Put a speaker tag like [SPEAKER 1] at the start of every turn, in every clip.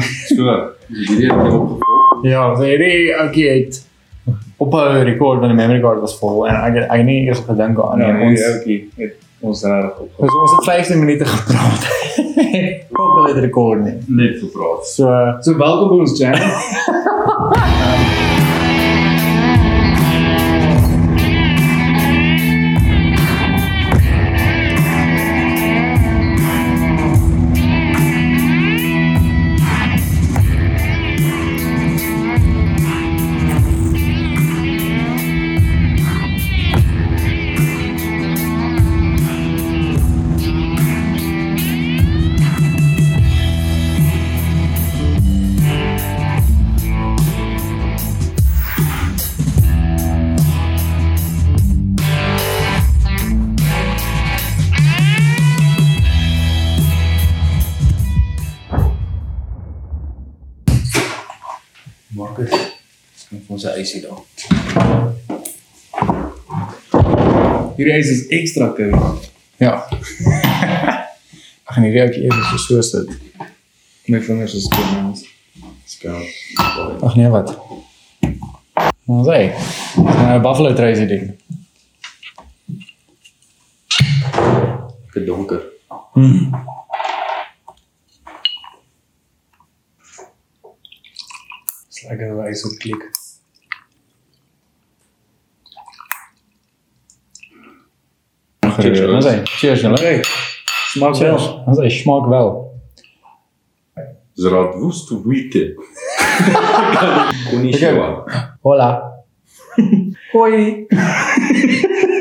[SPEAKER 1] Sure. Jullie hebben je opgevolgd.
[SPEAKER 2] Ja, so hierdie ouetjie het ophou rekord want die memory card was vol en ek het- ek het nie eers gedink aan
[SPEAKER 3] Ja,
[SPEAKER 2] nie.
[SPEAKER 3] nee,
[SPEAKER 2] ons
[SPEAKER 3] ons ouetjie het ons regtig op.
[SPEAKER 2] dus ons het 15 minute gepraat. Tot hulle dit rekord nie.
[SPEAKER 1] Net gepraat.
[SPEAKER 2] So
[SPEAKER 3] So welkom by ons channel.
[SPEAKER 1] Marcus, skink ons 'n ijsie daar.
[SPEAKER 3] Hierdie is is ekstra koud.
[SPEAKER 2] ja. ek gaan hierdie ouetjie dus eers so so sit.
[SPEAKER 3] My vingers is koud nou.
[SPEAKER 1] Skou.
[SPEAKER 2] Ag nee, wat? Ons sê, nou Buffalo Trace hierdie ding.
[SPEAKER 1] Lekker donker.
[SPEAKER 2] Hmm.
[SPEAKER 3] Dis lekker hoe hy so klik.
[SPEAKER 1] Cheers,
[SPEAKER 2] Ons sê, cheers julle.
[SPEAKER 3] Okay. Smaak
[SPEAKER 2] Cheers.
[SPEAKER 3] wel.
[SPEAKER 2] Ons sê smaak wel.
[SPEAKER 1] Is raad woest te weten. Kon nie
[SPEAKER 2] Okay.
[SPEAKER 1] sjoe.
[SPEAKER 2] Hola. Hoi.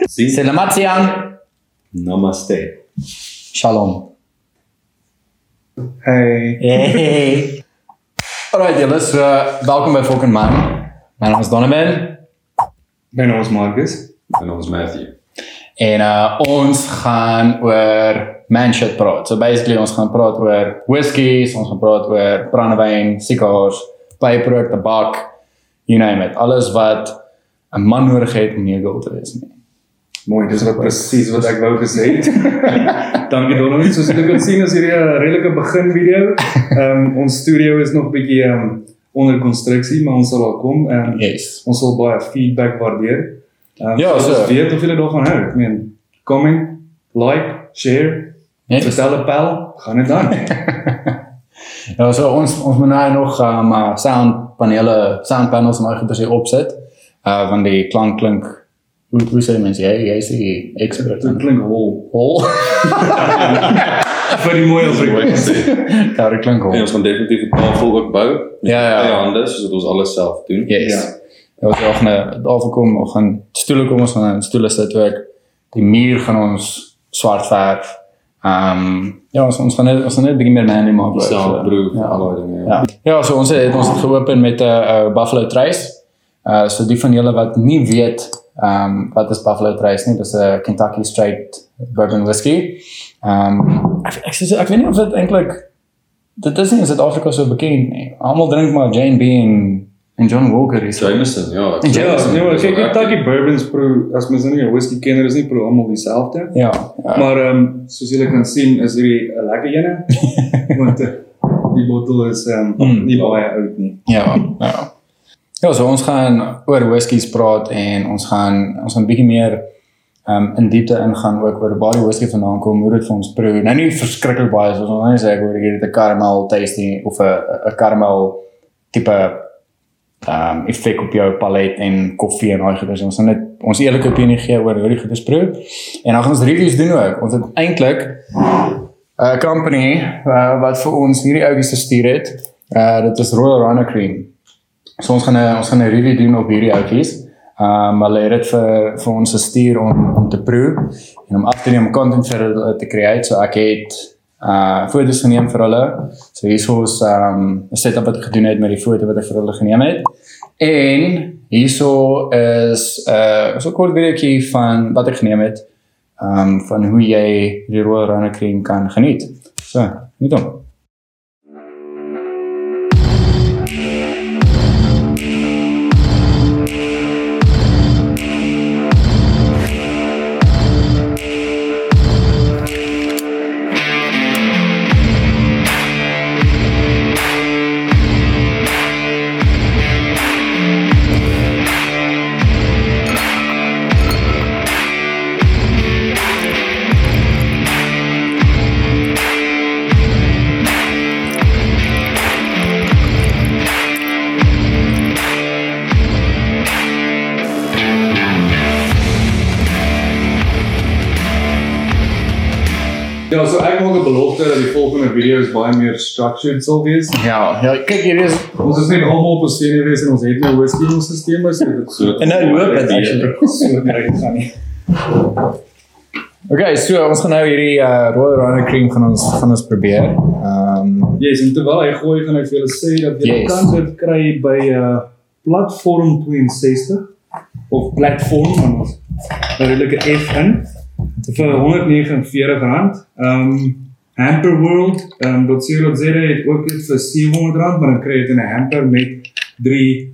[SPEAKER 1] Sien.
[SPEAKER 2] Selamat siang.
[SPEAKER 1] Namaste.
[SPEAKER 2] Shalom.
[SPEAKER 3] Hey.
[SPEAKER 2] Hey. Alright, julle, so welkom by Fucking Man. My naam is Donovan
[SPEAKER 3] My naam is Marcus.
[SPEAKER 1] En ons Matthew.
[SPEAKER 2] en uh ons gaan oor man shit praat. So basically ons gaan praat oor whiskies, ons gaan praat oor brandewyn, sigars, pyprook, tabak, you name it. Alles wat 'n man nodig het om nie 'n girl te wees nie.
[SPEAKER 3] Mooi, dis wat presies wat ek wou gesê het. Dankie Donovan. Soos julle kan sien is hierdie 'n redelike begin video. Ehm um, ons studio is nog bietjie ehm um, onder konstruksie, maar ons sal daar kom. Ehm um,
[SPEAKER 2] Yes.
[SPEAKER 3] ons sal baie feedback waardeer. Ehm um,
[SPEAKER 2] Ja, so.
[SPEAKER 3] ons weet of julle daarvan hou. Ek meen, comment, like, share,
[SPEAKER 2] Yes.
[SPEAKER 3] vertel 'n pel, gaan dit aan.
[SPEAKER 2] Ja, so ons ons moet nou nog uh, maar sound panele, sound panels nou goeie se opsit. Uh want die klank klink hoe hoe sê mense jy jy is die expert
[SPEAKER 3] Dit
[SPEAKER 2] in
[SPEAKER 3] klink hol.
[SPEAKER 2] hol.
[SPEAKER 3] Vir die mooi Afrikaans.
[SPEAKER 2] ja, dit klink
[SPEAKER 1] En
[SPEAKER 2] hol.
[SPEAKER 1] ons gaan definitief 'n tafel ook bou met
[SPEAKER 2] Ja, ja.
[SPEAKER 1] eie hande sodat ons alles self doen.
[SPEAKER 2] Yes. Ja. Ons gaan ook na daar kom, ons gaan stoele kom, ons gaan in stoele sit werk. Die muur gaan ons swart verf. Ehm um, ja, ons ons gaan net ons gaan net 'n bietjie meer manly maak.
[SPEAKER 1] Die soundproof,
[SPEAKER 2] Ja.
[SPEAKER 1] al daai dinge.
[SPEAKER 2] Ja. Ja, so ons het ons het geopen met 'n uh, Buffalo Trace. Uh so die van julle wat nie weet ehm um, wat is Buffalo Trace nie, dis 'n Kentucky Straight Bourbon Whiskey. Ehm um, ek ek, ek, ek weet nie of dit eintlik dit is nie in Suid-Afrika so bekend nie. Almal drink maar Jane B en en John Walker is.
[SPEAKER 1] Jameson, ja. ek-
[SPEAKER 3] Ja,
[SPEAKER 2] Jameson,
[SPEAKER 3] nee, maar
[SPEAKER 1] dis
[SPEAKER 3] kyk,
[SPEAKER 1] wel
[SPEAKER 3] ek dink die bourbons pro, as mens nou nie 'n whisky kenner is nie, pro almal dieselfde.
[SPEAKER 2] Ja. ja.
[SPEAKER 3] Maar ehm um, soos julle kan sien is hierdie 'n lekker ene want eh, die bottel is ehm um,
[SPEAKER 2] Mm.
[SPEAKER 3] nie baie oud nie.
[SPEAKER 2] Ja, ja. Ja, so ons gaan oor whiskies praat en ons gaan ons gaan bietjie meer ehm um, in diepte ingaan ook oor waar die whisky vandaan kom, hoe dit vir ons proe. Nou nie verskriklik baie soos ons nou nie sê oor hier het 'n karamel tasting of 'n 'n karamel tipe ehm um, effek op jou palet en koffie en daai goeders. Ons gaan net ons eerlike opinie gee oor hoe die goeders proe. En dan gaan ons reviews doen ook. Ons het eintlik 'n company uh, wat vir ons hierdie ouetjies gestuur het. Uh dit is Royal Rhino Cream. So ons gaan 'n ons gaan 'n review doen op hierdie ouetjies. Um hulle het dit vir vir ons gestuur om om te proe en om af te neem om content vir hulle te create. So ek het uh foto's geneem vir hulle. So hierso is um 'n setup wat ek gedoen het met die foto wat ek vir hulle geneem het. En hierso is 'n uh, so kort videoetjie van wat ek geneem het um van hoe jy die rooi rande cream kan geniet. So, geniet hom.
[SPEAKER 1] Ek
[SPEAKER 3] Ja, maak 'n belofte dat die volgende video's baie meer structured sal wees.
[SPEAKER 2] Ja, ja, kyk hier is
[SPEAKER 3] Ons is net almal op 'n steen gewees en ons het nou whisky in ons stelsel, so dit so.
[SPEAKER 2] En nou loop dit actually.
[SPEAKER 3] so reg gaan nie.
[SPEAKER 2] Okay, so ons gaan nou hierdie uh, rooi oranje cream gaan ons gaan ons probeer. Ehm um,
[SPEAKER 3] Yes, en terwyl hy gooi gaan ek vir julle sê dat jy
[SPEAKER 2] Yes.
[SPEAKER 3] yes. kan dit kry by uh platform 62 of platform en ons redelike F in vir R149. Ehm um, Hamper World, ehm um, wat sê dat sê dit ook iets vir R700, maar dan kry jy dit in 'n hamper met 3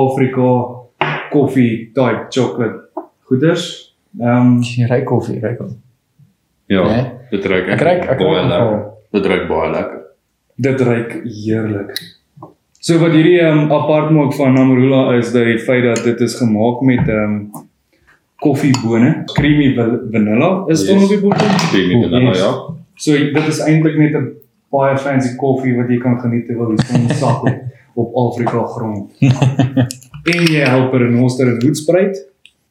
[SPEAKER 3] Afrika koffie type chocolate goeders. Ehm um,
[SPEAKER 2] jy ry koffie, ry koffie.
[SPEAKER 4] Ja,
[SPEAKER 2] Nee?
[SPEAKER 4] dit ruik
[SPEAKER 2] Ek ruik- ek
[SPEAKER 4] eintlik baie
[SPEAKER 2] ruik
[SPEAKER 4] lekker.
[SPEAKER 2] oh. nogal.
[SPEAKER 4] Dit ruik baie lekker.
[SPEAKER 3] Dit ruik heerlik. So wat hierdie um, apart maak van Amarula is dat die feit dat dit is gemaak met ehm um, koffiebone, creamy va- vanilla is dan
[SPEAKER 4] Yes.
[SPEAKER 3] op die bottel.
[SPEAKER 2] Oh,
[SPEAKER 4] Creamy vanilla,
[SPEAKER 3] Yes.
[SPEAKER 4] ja.
[SPEAKER 3] So dit is eintlik net 'n baie fancy koffie wat jy kan geniet terwyl jy son sak op, op Afrika grond. en jy help er in Monster en Hoedspruit.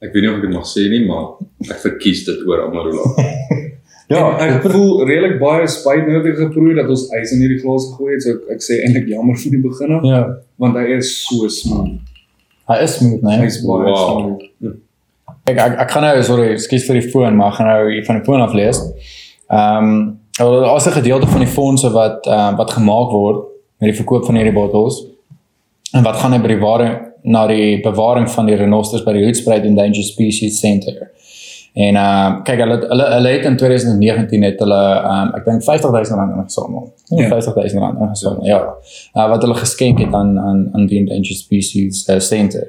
[SPEAKER 4] Ek weet nie of ek dit mag sê nie, maar ek verkies dit oor Amarula.
[SPEAKER 3] Ja, ek voel redelik baie spyt nou dat ek geproe het dat ons ys in hierdie glas gegooi het. So ek, ek sê eintlik jammer vir die begin af,
[SPEAKER 2] Ja,
[SPEAKER 3] want hy is so smaak.
[SPEAKER 2] hy is smooth, nee.
[SPEAKER 3] Hy is baie
[SPEAKER 4] Wow.
[SPEAKER 3] wow.
[SPEAKER 2] Ek ek, ek gaan nou sorry, ekskuus vir die foon, maar ek gaan nou hier van die foon af lees. Ehm um, daar's 'n gedeelte van die fondse wat ehm wat gemaak word met die verkoop van hierdie bottels. En wat gaan nou by die ware na die bewaring van die renosters by die Hoedspruit Endangered Species Centre. En ehm um, kyk hulle het- hulle hulle het in 2019 het hulle ehm um, ek dink 50000 rand ingesamel. Ja.
[SPEAKER 3] Ja.
[SPEAKER 2] 50000 rand ingesamel. Ja. Uh, wat hulle geskenk het aan aan aan die Endangered Species uh, Centre.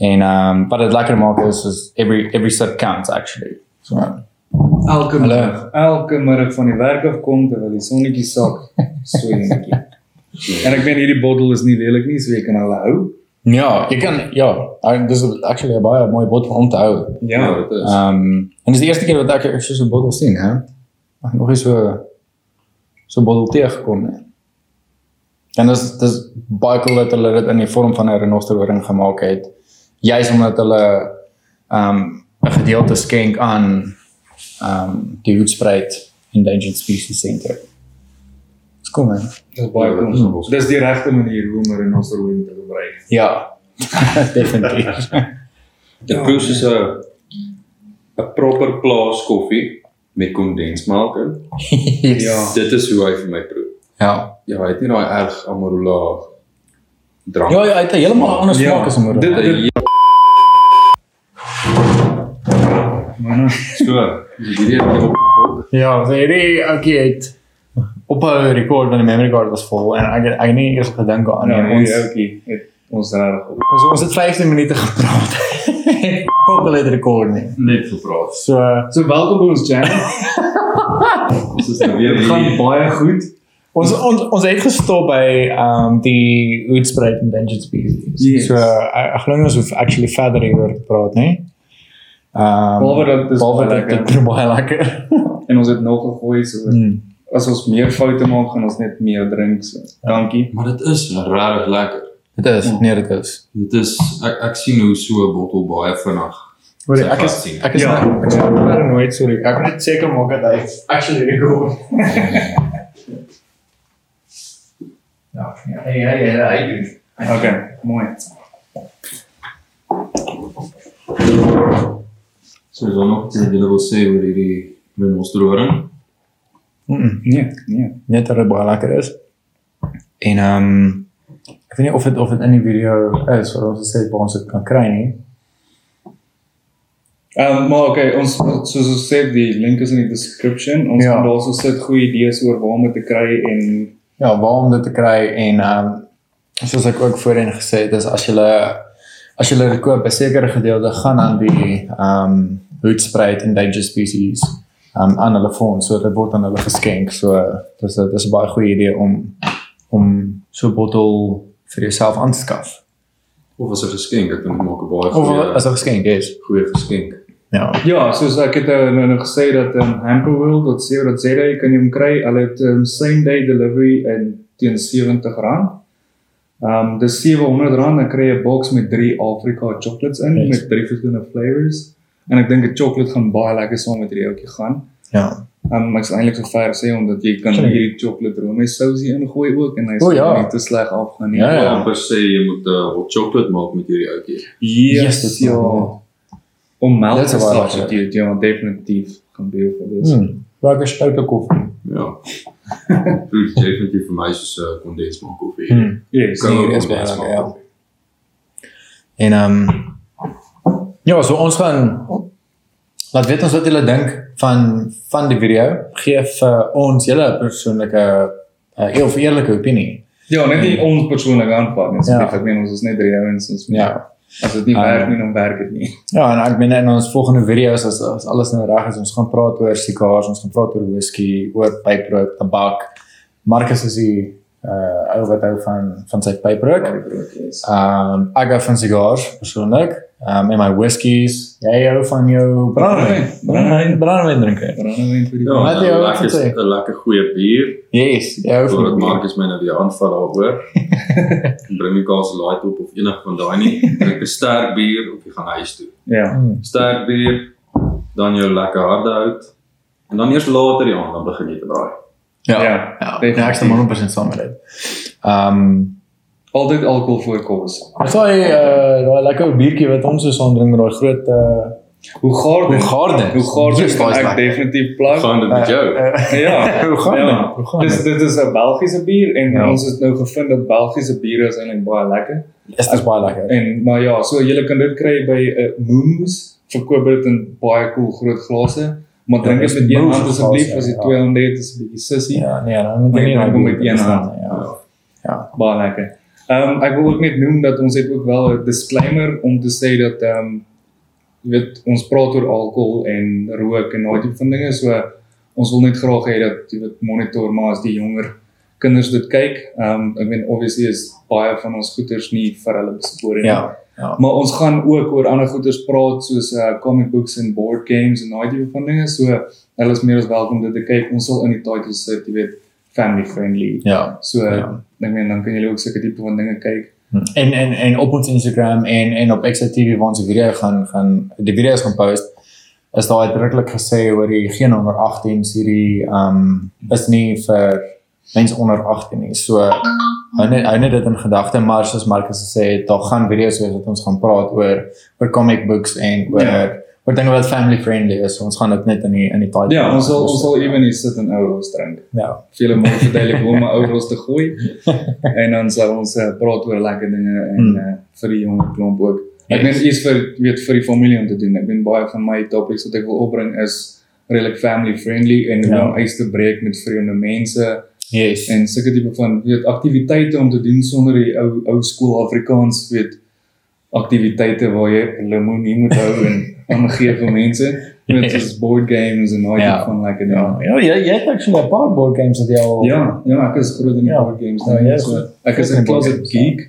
[SPEAKER 2] En ehm um, wat dit lekker maak is is every every sub counts actually. So
[SPEAKER 3] Elke
[SPEAKER 2] Hallo.
[SPEAKER 3] middag, elke middag van die werk af kom terwyl die sonnetjie sak, so enetjie. en ek meen hierdie bottel is nie lelik nie, so jy kan hulle hou.
[SPEAKER 2] ja, jy kan ja, I- dis is actually 'n baie mooi bottel om te hou.
[SPEAKER 3] Ja.
[SPEAKER 4] dit is.
[SPEAKER 2] Ehm um, en dis die eerste keer wat ek ek so 'n bottel sien, hè. Ek het nog eh, nie so so 'n bottel teë gekom nie. En dis dis baie cool dat hulle dit in die vorm van 'n renosterhoring gemaak het. Juis omdat hulle ehm um, 'n gedeelte skenk aan ehm um, die Hoedspruit Endangered Species Centre. Dis cool man.
[SPEAKER 3] Dis baie
[SPEAKER 4] Ja, dit is
[SPEAKER 3] cool. Dis die regte manier hoe om er 'n rinoceros te gebruik.
[SPEAKER 2] Ja. Definitief.
[SPEAKER 4] Dit proes is 'n 'n proper plaas koffie met kondensmelk in.
[SPEAKER 2] yes.
[SPEAKER 3] Ja.
[SPEAKER 4] Dit is hoe hy vir my proe.
[SPEAKER 2] Ja.
[SPEAKER 4] Ah. Ja, hy het nie daai erg Amarula drank.
[SPEAKER 2] Ja, ja, hy het 'n heeltemal 'n ander
[SPEAKER 3] Ja,
[SPEAKER 2] smaak as hom.
[SPEAKER 3] dit-
[SPEAKER 4] Hy-
[SPEAKER 3] Maar nou,
[SPEAKER 4] So, hierdie het ek opgevolg.
[SPEAKER 2] Ja, so hierdie ouetjie het op 'n rekord van die memory card was vol en ek het- ek het nie eers gedink aan
[SPEAKER 3] nou
[SPEAKER 2] nie.
[SPEAKER 3] ons
[SPEAKER 2] Ja, Ons
[SPEAKER 3] ouetjie het ons reg op.
[SPEAKER 2] so ons het 15 minute gepraat. Popel het rekord nie.
[SPEAKER 4] Net gepraat.
[SPEAKER 2] So
[SPEAKER 3] So welkom by ons channel.
[SPEAKER 4] Ons is nou weer
[SPEAKER 3] Dit gaan
[SPEAKER 4] hier.
[SPEAKER 3] baie goed.
[SPEAKER 2] ons ons ons het gestop by ehm um, die Hoedspruit Endangered Species.
[SPEAKER 3] Yes.
[SPEAKER 2] So ek ek glo nie ons hoef actually verder hieroor te praat nie. Ehm
[SPEAKER 3] Behalwe dat dit
[SPEAKER 2] behalwe dat
[SPEAKER 3] lekker. Hmm.
[SPEAKER 2] dit baie lekker.
[SPEAKER 3] en ons het nog gegooi so
[SPEAKER 2] Mm.
[SPEAKER 3] as ons meer foute maak gaan ons net meer drink. So. Dankie.
[SPEAKER 4] Maar dit is regtig lekker.
[SPEAKER 2] Dit is, nee, dit is.
[SPEAKER 4] Dit is ek ek sien hoe so 'n bottel baie vinnig.
[SPEAKER 2] Hoor
[SPEAKER 4] Sy
[SPEAKER 2] ek is
[SPEAKER 4] vas sien.
[SPEAKER 2] ek is
[SPEAKER 3] Ja.
[SPEAKER 2] nou- ek is nou paranoid sorry. Ek moet net seker maak dat hy actually record. Ja, ja, ja, ja, hy doen.
[SPEAKER 3] Okay, mooi.
[SPEAKER 4] So is daar nog iets wat jy wil sê oor hierdie renosterhoring?
[SPEAKER 2] Mm,
[SPEAKER 3] Nee, nee.
[SPEAKER 2] net dat dit baie lekker is. En ehm um, ek weet nie of dit of dit in die video is wat ons gesê het waar ons dit kan kry nie.
[SPEAKER 3] Ehm um, maar okay, ons soos ons sê die link is in die description. Ons
[SPEAKER 2] Ja.
[SPEAKER 3] ja. kan daarso sit goeie idees oor waar om dit te kry en
[SPEAKER 2] ja, waar om dit te kry en ehm um, soos ek ook voorheen gesê het, is as jy as jy dit koop, 'n sekere gedeelte gaan aan die ehm um, hoedspruit endangered species um, aan hulle fonds, so dit word aan hulle geskenk. So dis dit is 'n baie goeie idee om om so 'n bottel vir jouself aan te skaf.
[SPEAKER 4] Of as 'n geskenk, ek dink dit maak 'n baie
[SPEAKER 2] Of
[SPEAKER 4] goeie,
[SPEAKER 2] as 'n geskenk is.
[SPEAKER 4] goeie geskenk.
[SPEAKER 2] Ja.
[SPEAKER 3] ja, soos ek het eh, nou nou gesê dat ehm um, Hamperwheel dat sê dat sê jy kan hom kry. Hulle het um, same day delivery in teen R70. Ehm um, dis R700 dan kry jy 'n box met 3 Afrika chocolates in
[SPEAKER 2] Yes.
[SPEAKER 3] yes. met drie verskillende flavors en ek dink 'n chocolate gaan baie lekker saam met hierdie ouetjie gaan.
[SPEAKER 2] Ja.
[SPEAKER 3] Um, ek's eintlik so ver sê omdat jy kan
[SPEAKER 2] Sure.
[SPEAKER 3] hierdie chocolate room en sousie ingooi ook en hy
[SPEAKER 2] O,
[SPEAKER 3] sal
[SPEAKER 2] ja.
[SPEAKER 3] nie te sleg afgaan nie.
[SPEAKER 2] Ja,
[SPEAKER 4] Ja,
[SPEAKER 2] ja.
[SPEAKER 4] amper sê jy moet 'n uh, hot chocolate maak met hierdie ouetjie.
[SPEAKER 3] Yes,
[SPEAKER 2] Yes,
[SPEAKER 3] ja.
[SPEAKER 2] man.
[SPEAKER 3] Om melk
[SPEAKER 2] That's
[SPEAKER 3] te
[SPEAKER 2] a wild
[SPEAKER 3] substitute, ja, definitief gaan beautiful wees.
[SPEAKER 2] Hmm. Lekker stoute koffie.
[SPEAKER 4] Ja. Dit is definitief vir my soos eh, 'n kondensmelk koffie.
[SPEAKER 2] Hmm.
[SPEAKER 3] Yes.
[SPEAKER 4] Koue
[SPEAKER 2] hier is baie
[SPEAKER 4] kondensmelk
[SPEAKER 2] lekker, ja.
[SPEAKER 4] koffie.
[SPEAKER 2] En ehm ja, so ons gaan laat weet ons wat julle dink van van die video. Gee vir ons julle persoonlike uh, heel eerlike opinie.
[SPEAKER 3] Ja, net nie ons persoonlik aanpak nie.
[SPEAKER 2] Hmm. Ja.
[SPEAKER 3] Ja. Ek meen ons is net drie ouens ons moet-
[SPEAKER 2] Ja.
[SPEAKER 3] As dit nie
[SPEAKER 2] Ah.
[SPEAKER 3] werk nie, dan werk dit nie.
[SPEAKER 2] Ja, en ek meen in ons volgende video's as, as alles nou reg is, ons gaan praat oor sigars, ons gaan praat oor whisky, oor pyprook, tabak. Marcus is die uh ou wat hou van van sy pyprook.
[SPEAKER 3] Yes.
[SPEAKER 2] Ehm um, ek hou van sigars persoonlik. Ehm um, en my whiskies. Jy hou van jou brandewyn. Brandewyn, brandewyn drink. eh? jy?
[SPEAKER 3] Brandewyn vir die
[SPEAKER 4] Ja,
[SPEAKER 2] Wat
[SPEAKER 4] en
[SPEAKER 2] jy
[SPEAKER 4] een
[SPEAKER 2] ook
[SPEAKER 4] lekker,
[SPEAKER 2] gesê.
[SPEAKER 4] een lekker goeie bier.
[SPEAKER 2] Yes, jy hou van
[SPEAKER 4] Voordat
[SPEAKER 2] bier.
[SPEAKER 4] Marcus my nou weer aanval daaroor. Bring die kaas light op of enig van daai nie. Drink 'n sterk bier of jy gaan huis toe.
[SPEAKER 3] Ja.
[SPEAKER 2] Mm.
[SPEAKER 4] Sterk bier, dan jou lekker harde hout. En dan eers later die aand dan begin jy te braai.
[SPEAKER 2] Ja. Ja,
[SPEAKER 3] Ja.
[SPEAKER 2] ja
[SPEAKER 3] definitief.
[SPEAKER 2] ek stem 100% saam met dit. Ehm um,
[SPEAKER 3] Altyd alkohol voor kos.
[SPEAKER 2] ons daai eh, daai lekker biertjie wat ons so saam drink met daai groot uh,
[SPEAKER 3] Hoe gaar dit?
[SPEAKER 2] Hoegaarden.
[SPEAKER 3] Hoe gaar
[SPEAKER 2] Yes,
[SPEAKER 3] dit?
[SPEAKER 2] daai
[SPEAKER 3] kan
[SPEAKER 2] is
[SPEAKER 3] Ek
[SPEAKER 2] lekker.
[SPEAKER 3] definitief plug.
[SPEAKER 4] Gaan dit met jou?
[SPEAKER 2] uh,
[SPEAKER 3] Ja.
[SPEAKER 2] Hoe gaan dit?
[SPEAKER 3] Ja.
[SPEAKER 2] Hoe gaan
[SPEAKER 3] Dis
[SPEAKER 2] dit?
[SPEAKER 3] dit is 'n Belgiese bier en
[SPEAKER 2] Ja.
[SPEAKER 3] ja. ons het nou gevind dat Belgiese biere is eintlik baie lekker.
[SPEAKER 2] Dis dis baie lekker.
[SPEAKER 3] En maar ja, so jy kan dit kry by 'n uh, Moom's verkoop dit in baie cool groot glase. Maar drink dit
[SPEAKER 2] Ja, dis
[SPEAKER 3] met een
[SPEAKER 2] Moom's
[SPEAKER 3] hand asseblief
[SPEAKER 2] glase,
[SPEAKER 3] as jy
[SPEAKER 2] ja.
[SPEAKER 3] twee hande het, is 'n bietjie sissie.
[SPEAKER 2] Ja, nee, dan moet
[SPEAKER 3] Maar
[SPEAKER 2] jy nie
[SPEAKER 3] jy drink
[SPEAKER 2] nou
[SPEAKER 3] hom met een hand.
[SPEAKER 2] Ja.
[SPEAKER 3] baie lekker. Ehm um, ek wil ook net noem dat ons het ook wel 'n disclaimer om te sê dat ehm um, jy weet ons praat oor alkohol en rook en daai tipe van dinge so ons wil net graag hê dat jy weet monitor maar as die jonger kinders dit kyk. Ehm um, ek meen obviously is baie van ons goeters nie vir hulle beskore nie.
[SPEAKER 2] Ja. ja.
[SPEAKER 3] Maar ons gaan ook oor ander goeters praat soos uh comic books en board games en daai tipe van dinge. So hulle is meer as welkom dit te kyk. Ons sal in die titles sit, jy weet, family friendly.
[SPEAKER 2] Ja.
[SPEAKER 3] So
[SPEAKER 2] Ja.
[SPEAKER 3] ek meen dan kan julle ook sulke tipe van dinge kyk.
[SPEAKER 2] En en en op ons Instagram en en op XTV waar ons die video gaan gaan die video's gaan post is daar uitdruklik gesê oor die geen onder 18 is hierdie ehm um, is nie vir mense onder 18 nie. So hou net hou net dit in gedagte maar soos Marcus gesê het, daar gaan video's wees wat ons gaan praat oor oor comic books en oor ja.
[SPEAKER 3] Ja.
[SPEAKER 2] oor dinge wat family friendly is. So ons gaan dit net in die in die title.
[SPEAKER 3] Ja, ons sal ons sal ewen hier sit en ouros drink.
[SPEAKER 2] ja.
[SPEAKER 3] Vir julle moet verduidelik hoe om 'n ouros te gooi. en dan sal ons uh, praat oor lekker dinge en
[SPEAKER 2] Hmm.
[SPEAKER 3] hmm. uh, vir die jonger klomp ook. Ek
[SPEAKER 2] Yes.
[SPEAKER 3] meen iets vir weet vir die familie om te doen. Ek meen baie van my topics wat ek wil opbring is redelik family friendly en hoe
[SPEAKER 2] Ja.
[SPEAKER 3] om ys te breek met vreemde mense
[SPEAKER 2] Yes.
[SPEAKER 3] en sulke tipe van weet aktiwiteite om te doen sonder die ou ou skool Afrikaans weet aktiwiteite waar jy lemoen nie moet hou en aangee vir mense met soos board games en daai
[SPEAKER 2] Ja.
[SPEAKER 3] tipe van lekker
[SPEAKER 2] ja,
[SPEAKER 3] ding.
[SPEAKER 2] ja, jy jy het actually 'n paar board games wat jy al
[SPEAKER 3] Ja, ja, ek is groot in die
[SPEAKER 2] Ja.
[SPEAKER 3] board games
[SPEAKER 2] Ja,
[SPEAKER 3] nou.
[SPEAKER 2] jy
[SPEAKER 3] Ja,
[SPEAKER 2] is
[SPEAKER 3] so,
[SPEAKER 2] goed.
[SPEAKER 3] ek is
[SPEAKER 2] Goed in
[SPEAKER 3] 'n
[SPEAKER 2] board
[SPEAKER 3] closet
[SPEAKER 2] games, ja.
[SPEAKER 3] geek.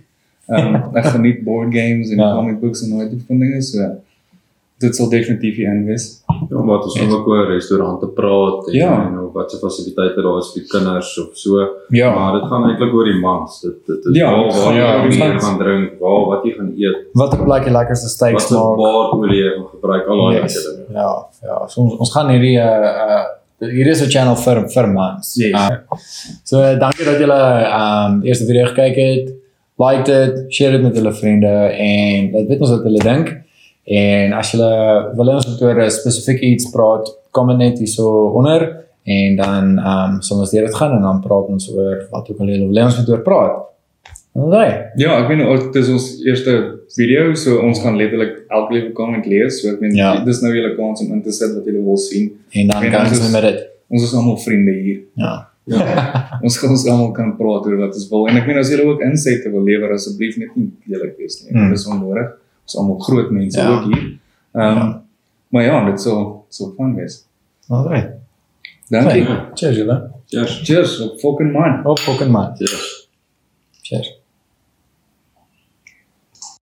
[SPEAKER 3] Um, ek geniet board games en
[SPEAKER 2] Ja.
[SPEAKER 3] ja. comic books en daai tipe van dinge so dit sal definitief hier in wees.
[SPEAKER 4] Ja, maar ons gaan ook oor restaurante praat en,
[SPEAKER 3] Ja.
[SPEAKER 4] en oor wat se fasiliteite daar is vir die kinders of so.
[SPEAKER 2] ja.
[SPEAKER 4] Maar dit gaan eintlik oor die mans. Dit dit is
[SPEAKER 3] Ja,
[SPEAKER 4] waar
[SPEAKER 3] dit
[SPEAKER 4] waar
[SPEAKER 3] gaan
[SPEAKER 4] jy
[SPEAKER 2] oor die
[SPEAKER 4] meer
[SPEAKER 3] mans.
[SPEAKER 4] gaan drink, waar wat jy gaan eet,
[SPEAKER 2] wat 'n plek die lekkerste
[SPEAKER 4] wat
[SPEAKER 2] steaks
[SPEAKER 4] se
[SPEAKER 2] maak.
[SPEAKER 4] baarolie jy gaan gebruik, al daai yes. dinge.
[SPEAKER 2] Ja, ja, so ons, ons gaan hierdie uh uh hierdie is 'n channel vir vir mans.
[SPEAKER 3] Yes.
[SPEAKER 2] Uh, so uh, dankie dat julle um die eerste video gekyk het. Like dit, share dit met julle vriende en laat weet ons wat julle dink. En as julle wil hê ons moet oor 'n spesifieke iets praat, comment net hierso onder en dan um sal ons deur dit gaan en dan praat ons oor wat ook al julle wil hê ons moet oor praat. Alraai.
[SPEAKER 3] Ja, ek weet nou dis ons eerste video, so ons gaan letterlik elke liewe comment lees. So ek meen
[SPEAKER 2] Ja.
[SPEAKER 3] ja. dis nou julle kans om in te sit wat julle wil sien.
[SPEAKER 2] En dan
[SPEAKER 3] En
[SPEAKER 2] gaan
[SPEAKER 3] ons
[SPEAKER 2] ons
[SPEAKER 3] is-
[SPEAKER 2] met dit.
[SPEAKER 3] Ons is almal vriende hier.
[SPEAKER 2] Ja.
[SPEAKER 3] Ons gaan ons almal kan praat oor wat ons wil en ek meen as julle ook insette wil lewer asseblief net nie lelik wees nie.
[SPEAKER 2] Mm.
[SPEAKER 3] Mm. Dis onnodig. Ons is almal groot mense
[SPEAKER 2] Ja.
[SPEAKER 3] ja. ook hier. Ehm um,
[SPEAKER 2] Ja.
[SPEAKER 3] ja. maar ja, dit sal sal fun wees.
[SPEAKER 2] Alraai.
[SPEAKER 3] Dankie.
[SPEAKER 4] Ja.
[SPEAKER 2] Cheers julle.
[SPEAKER 4] Cheers.
[SPEAKER 3] Cheers, op fucking man.
[SPEAKER 2] Op fucking man.
[SPEAKER 4] Cheers.
[SPEAKER 2] Oh, Cheers.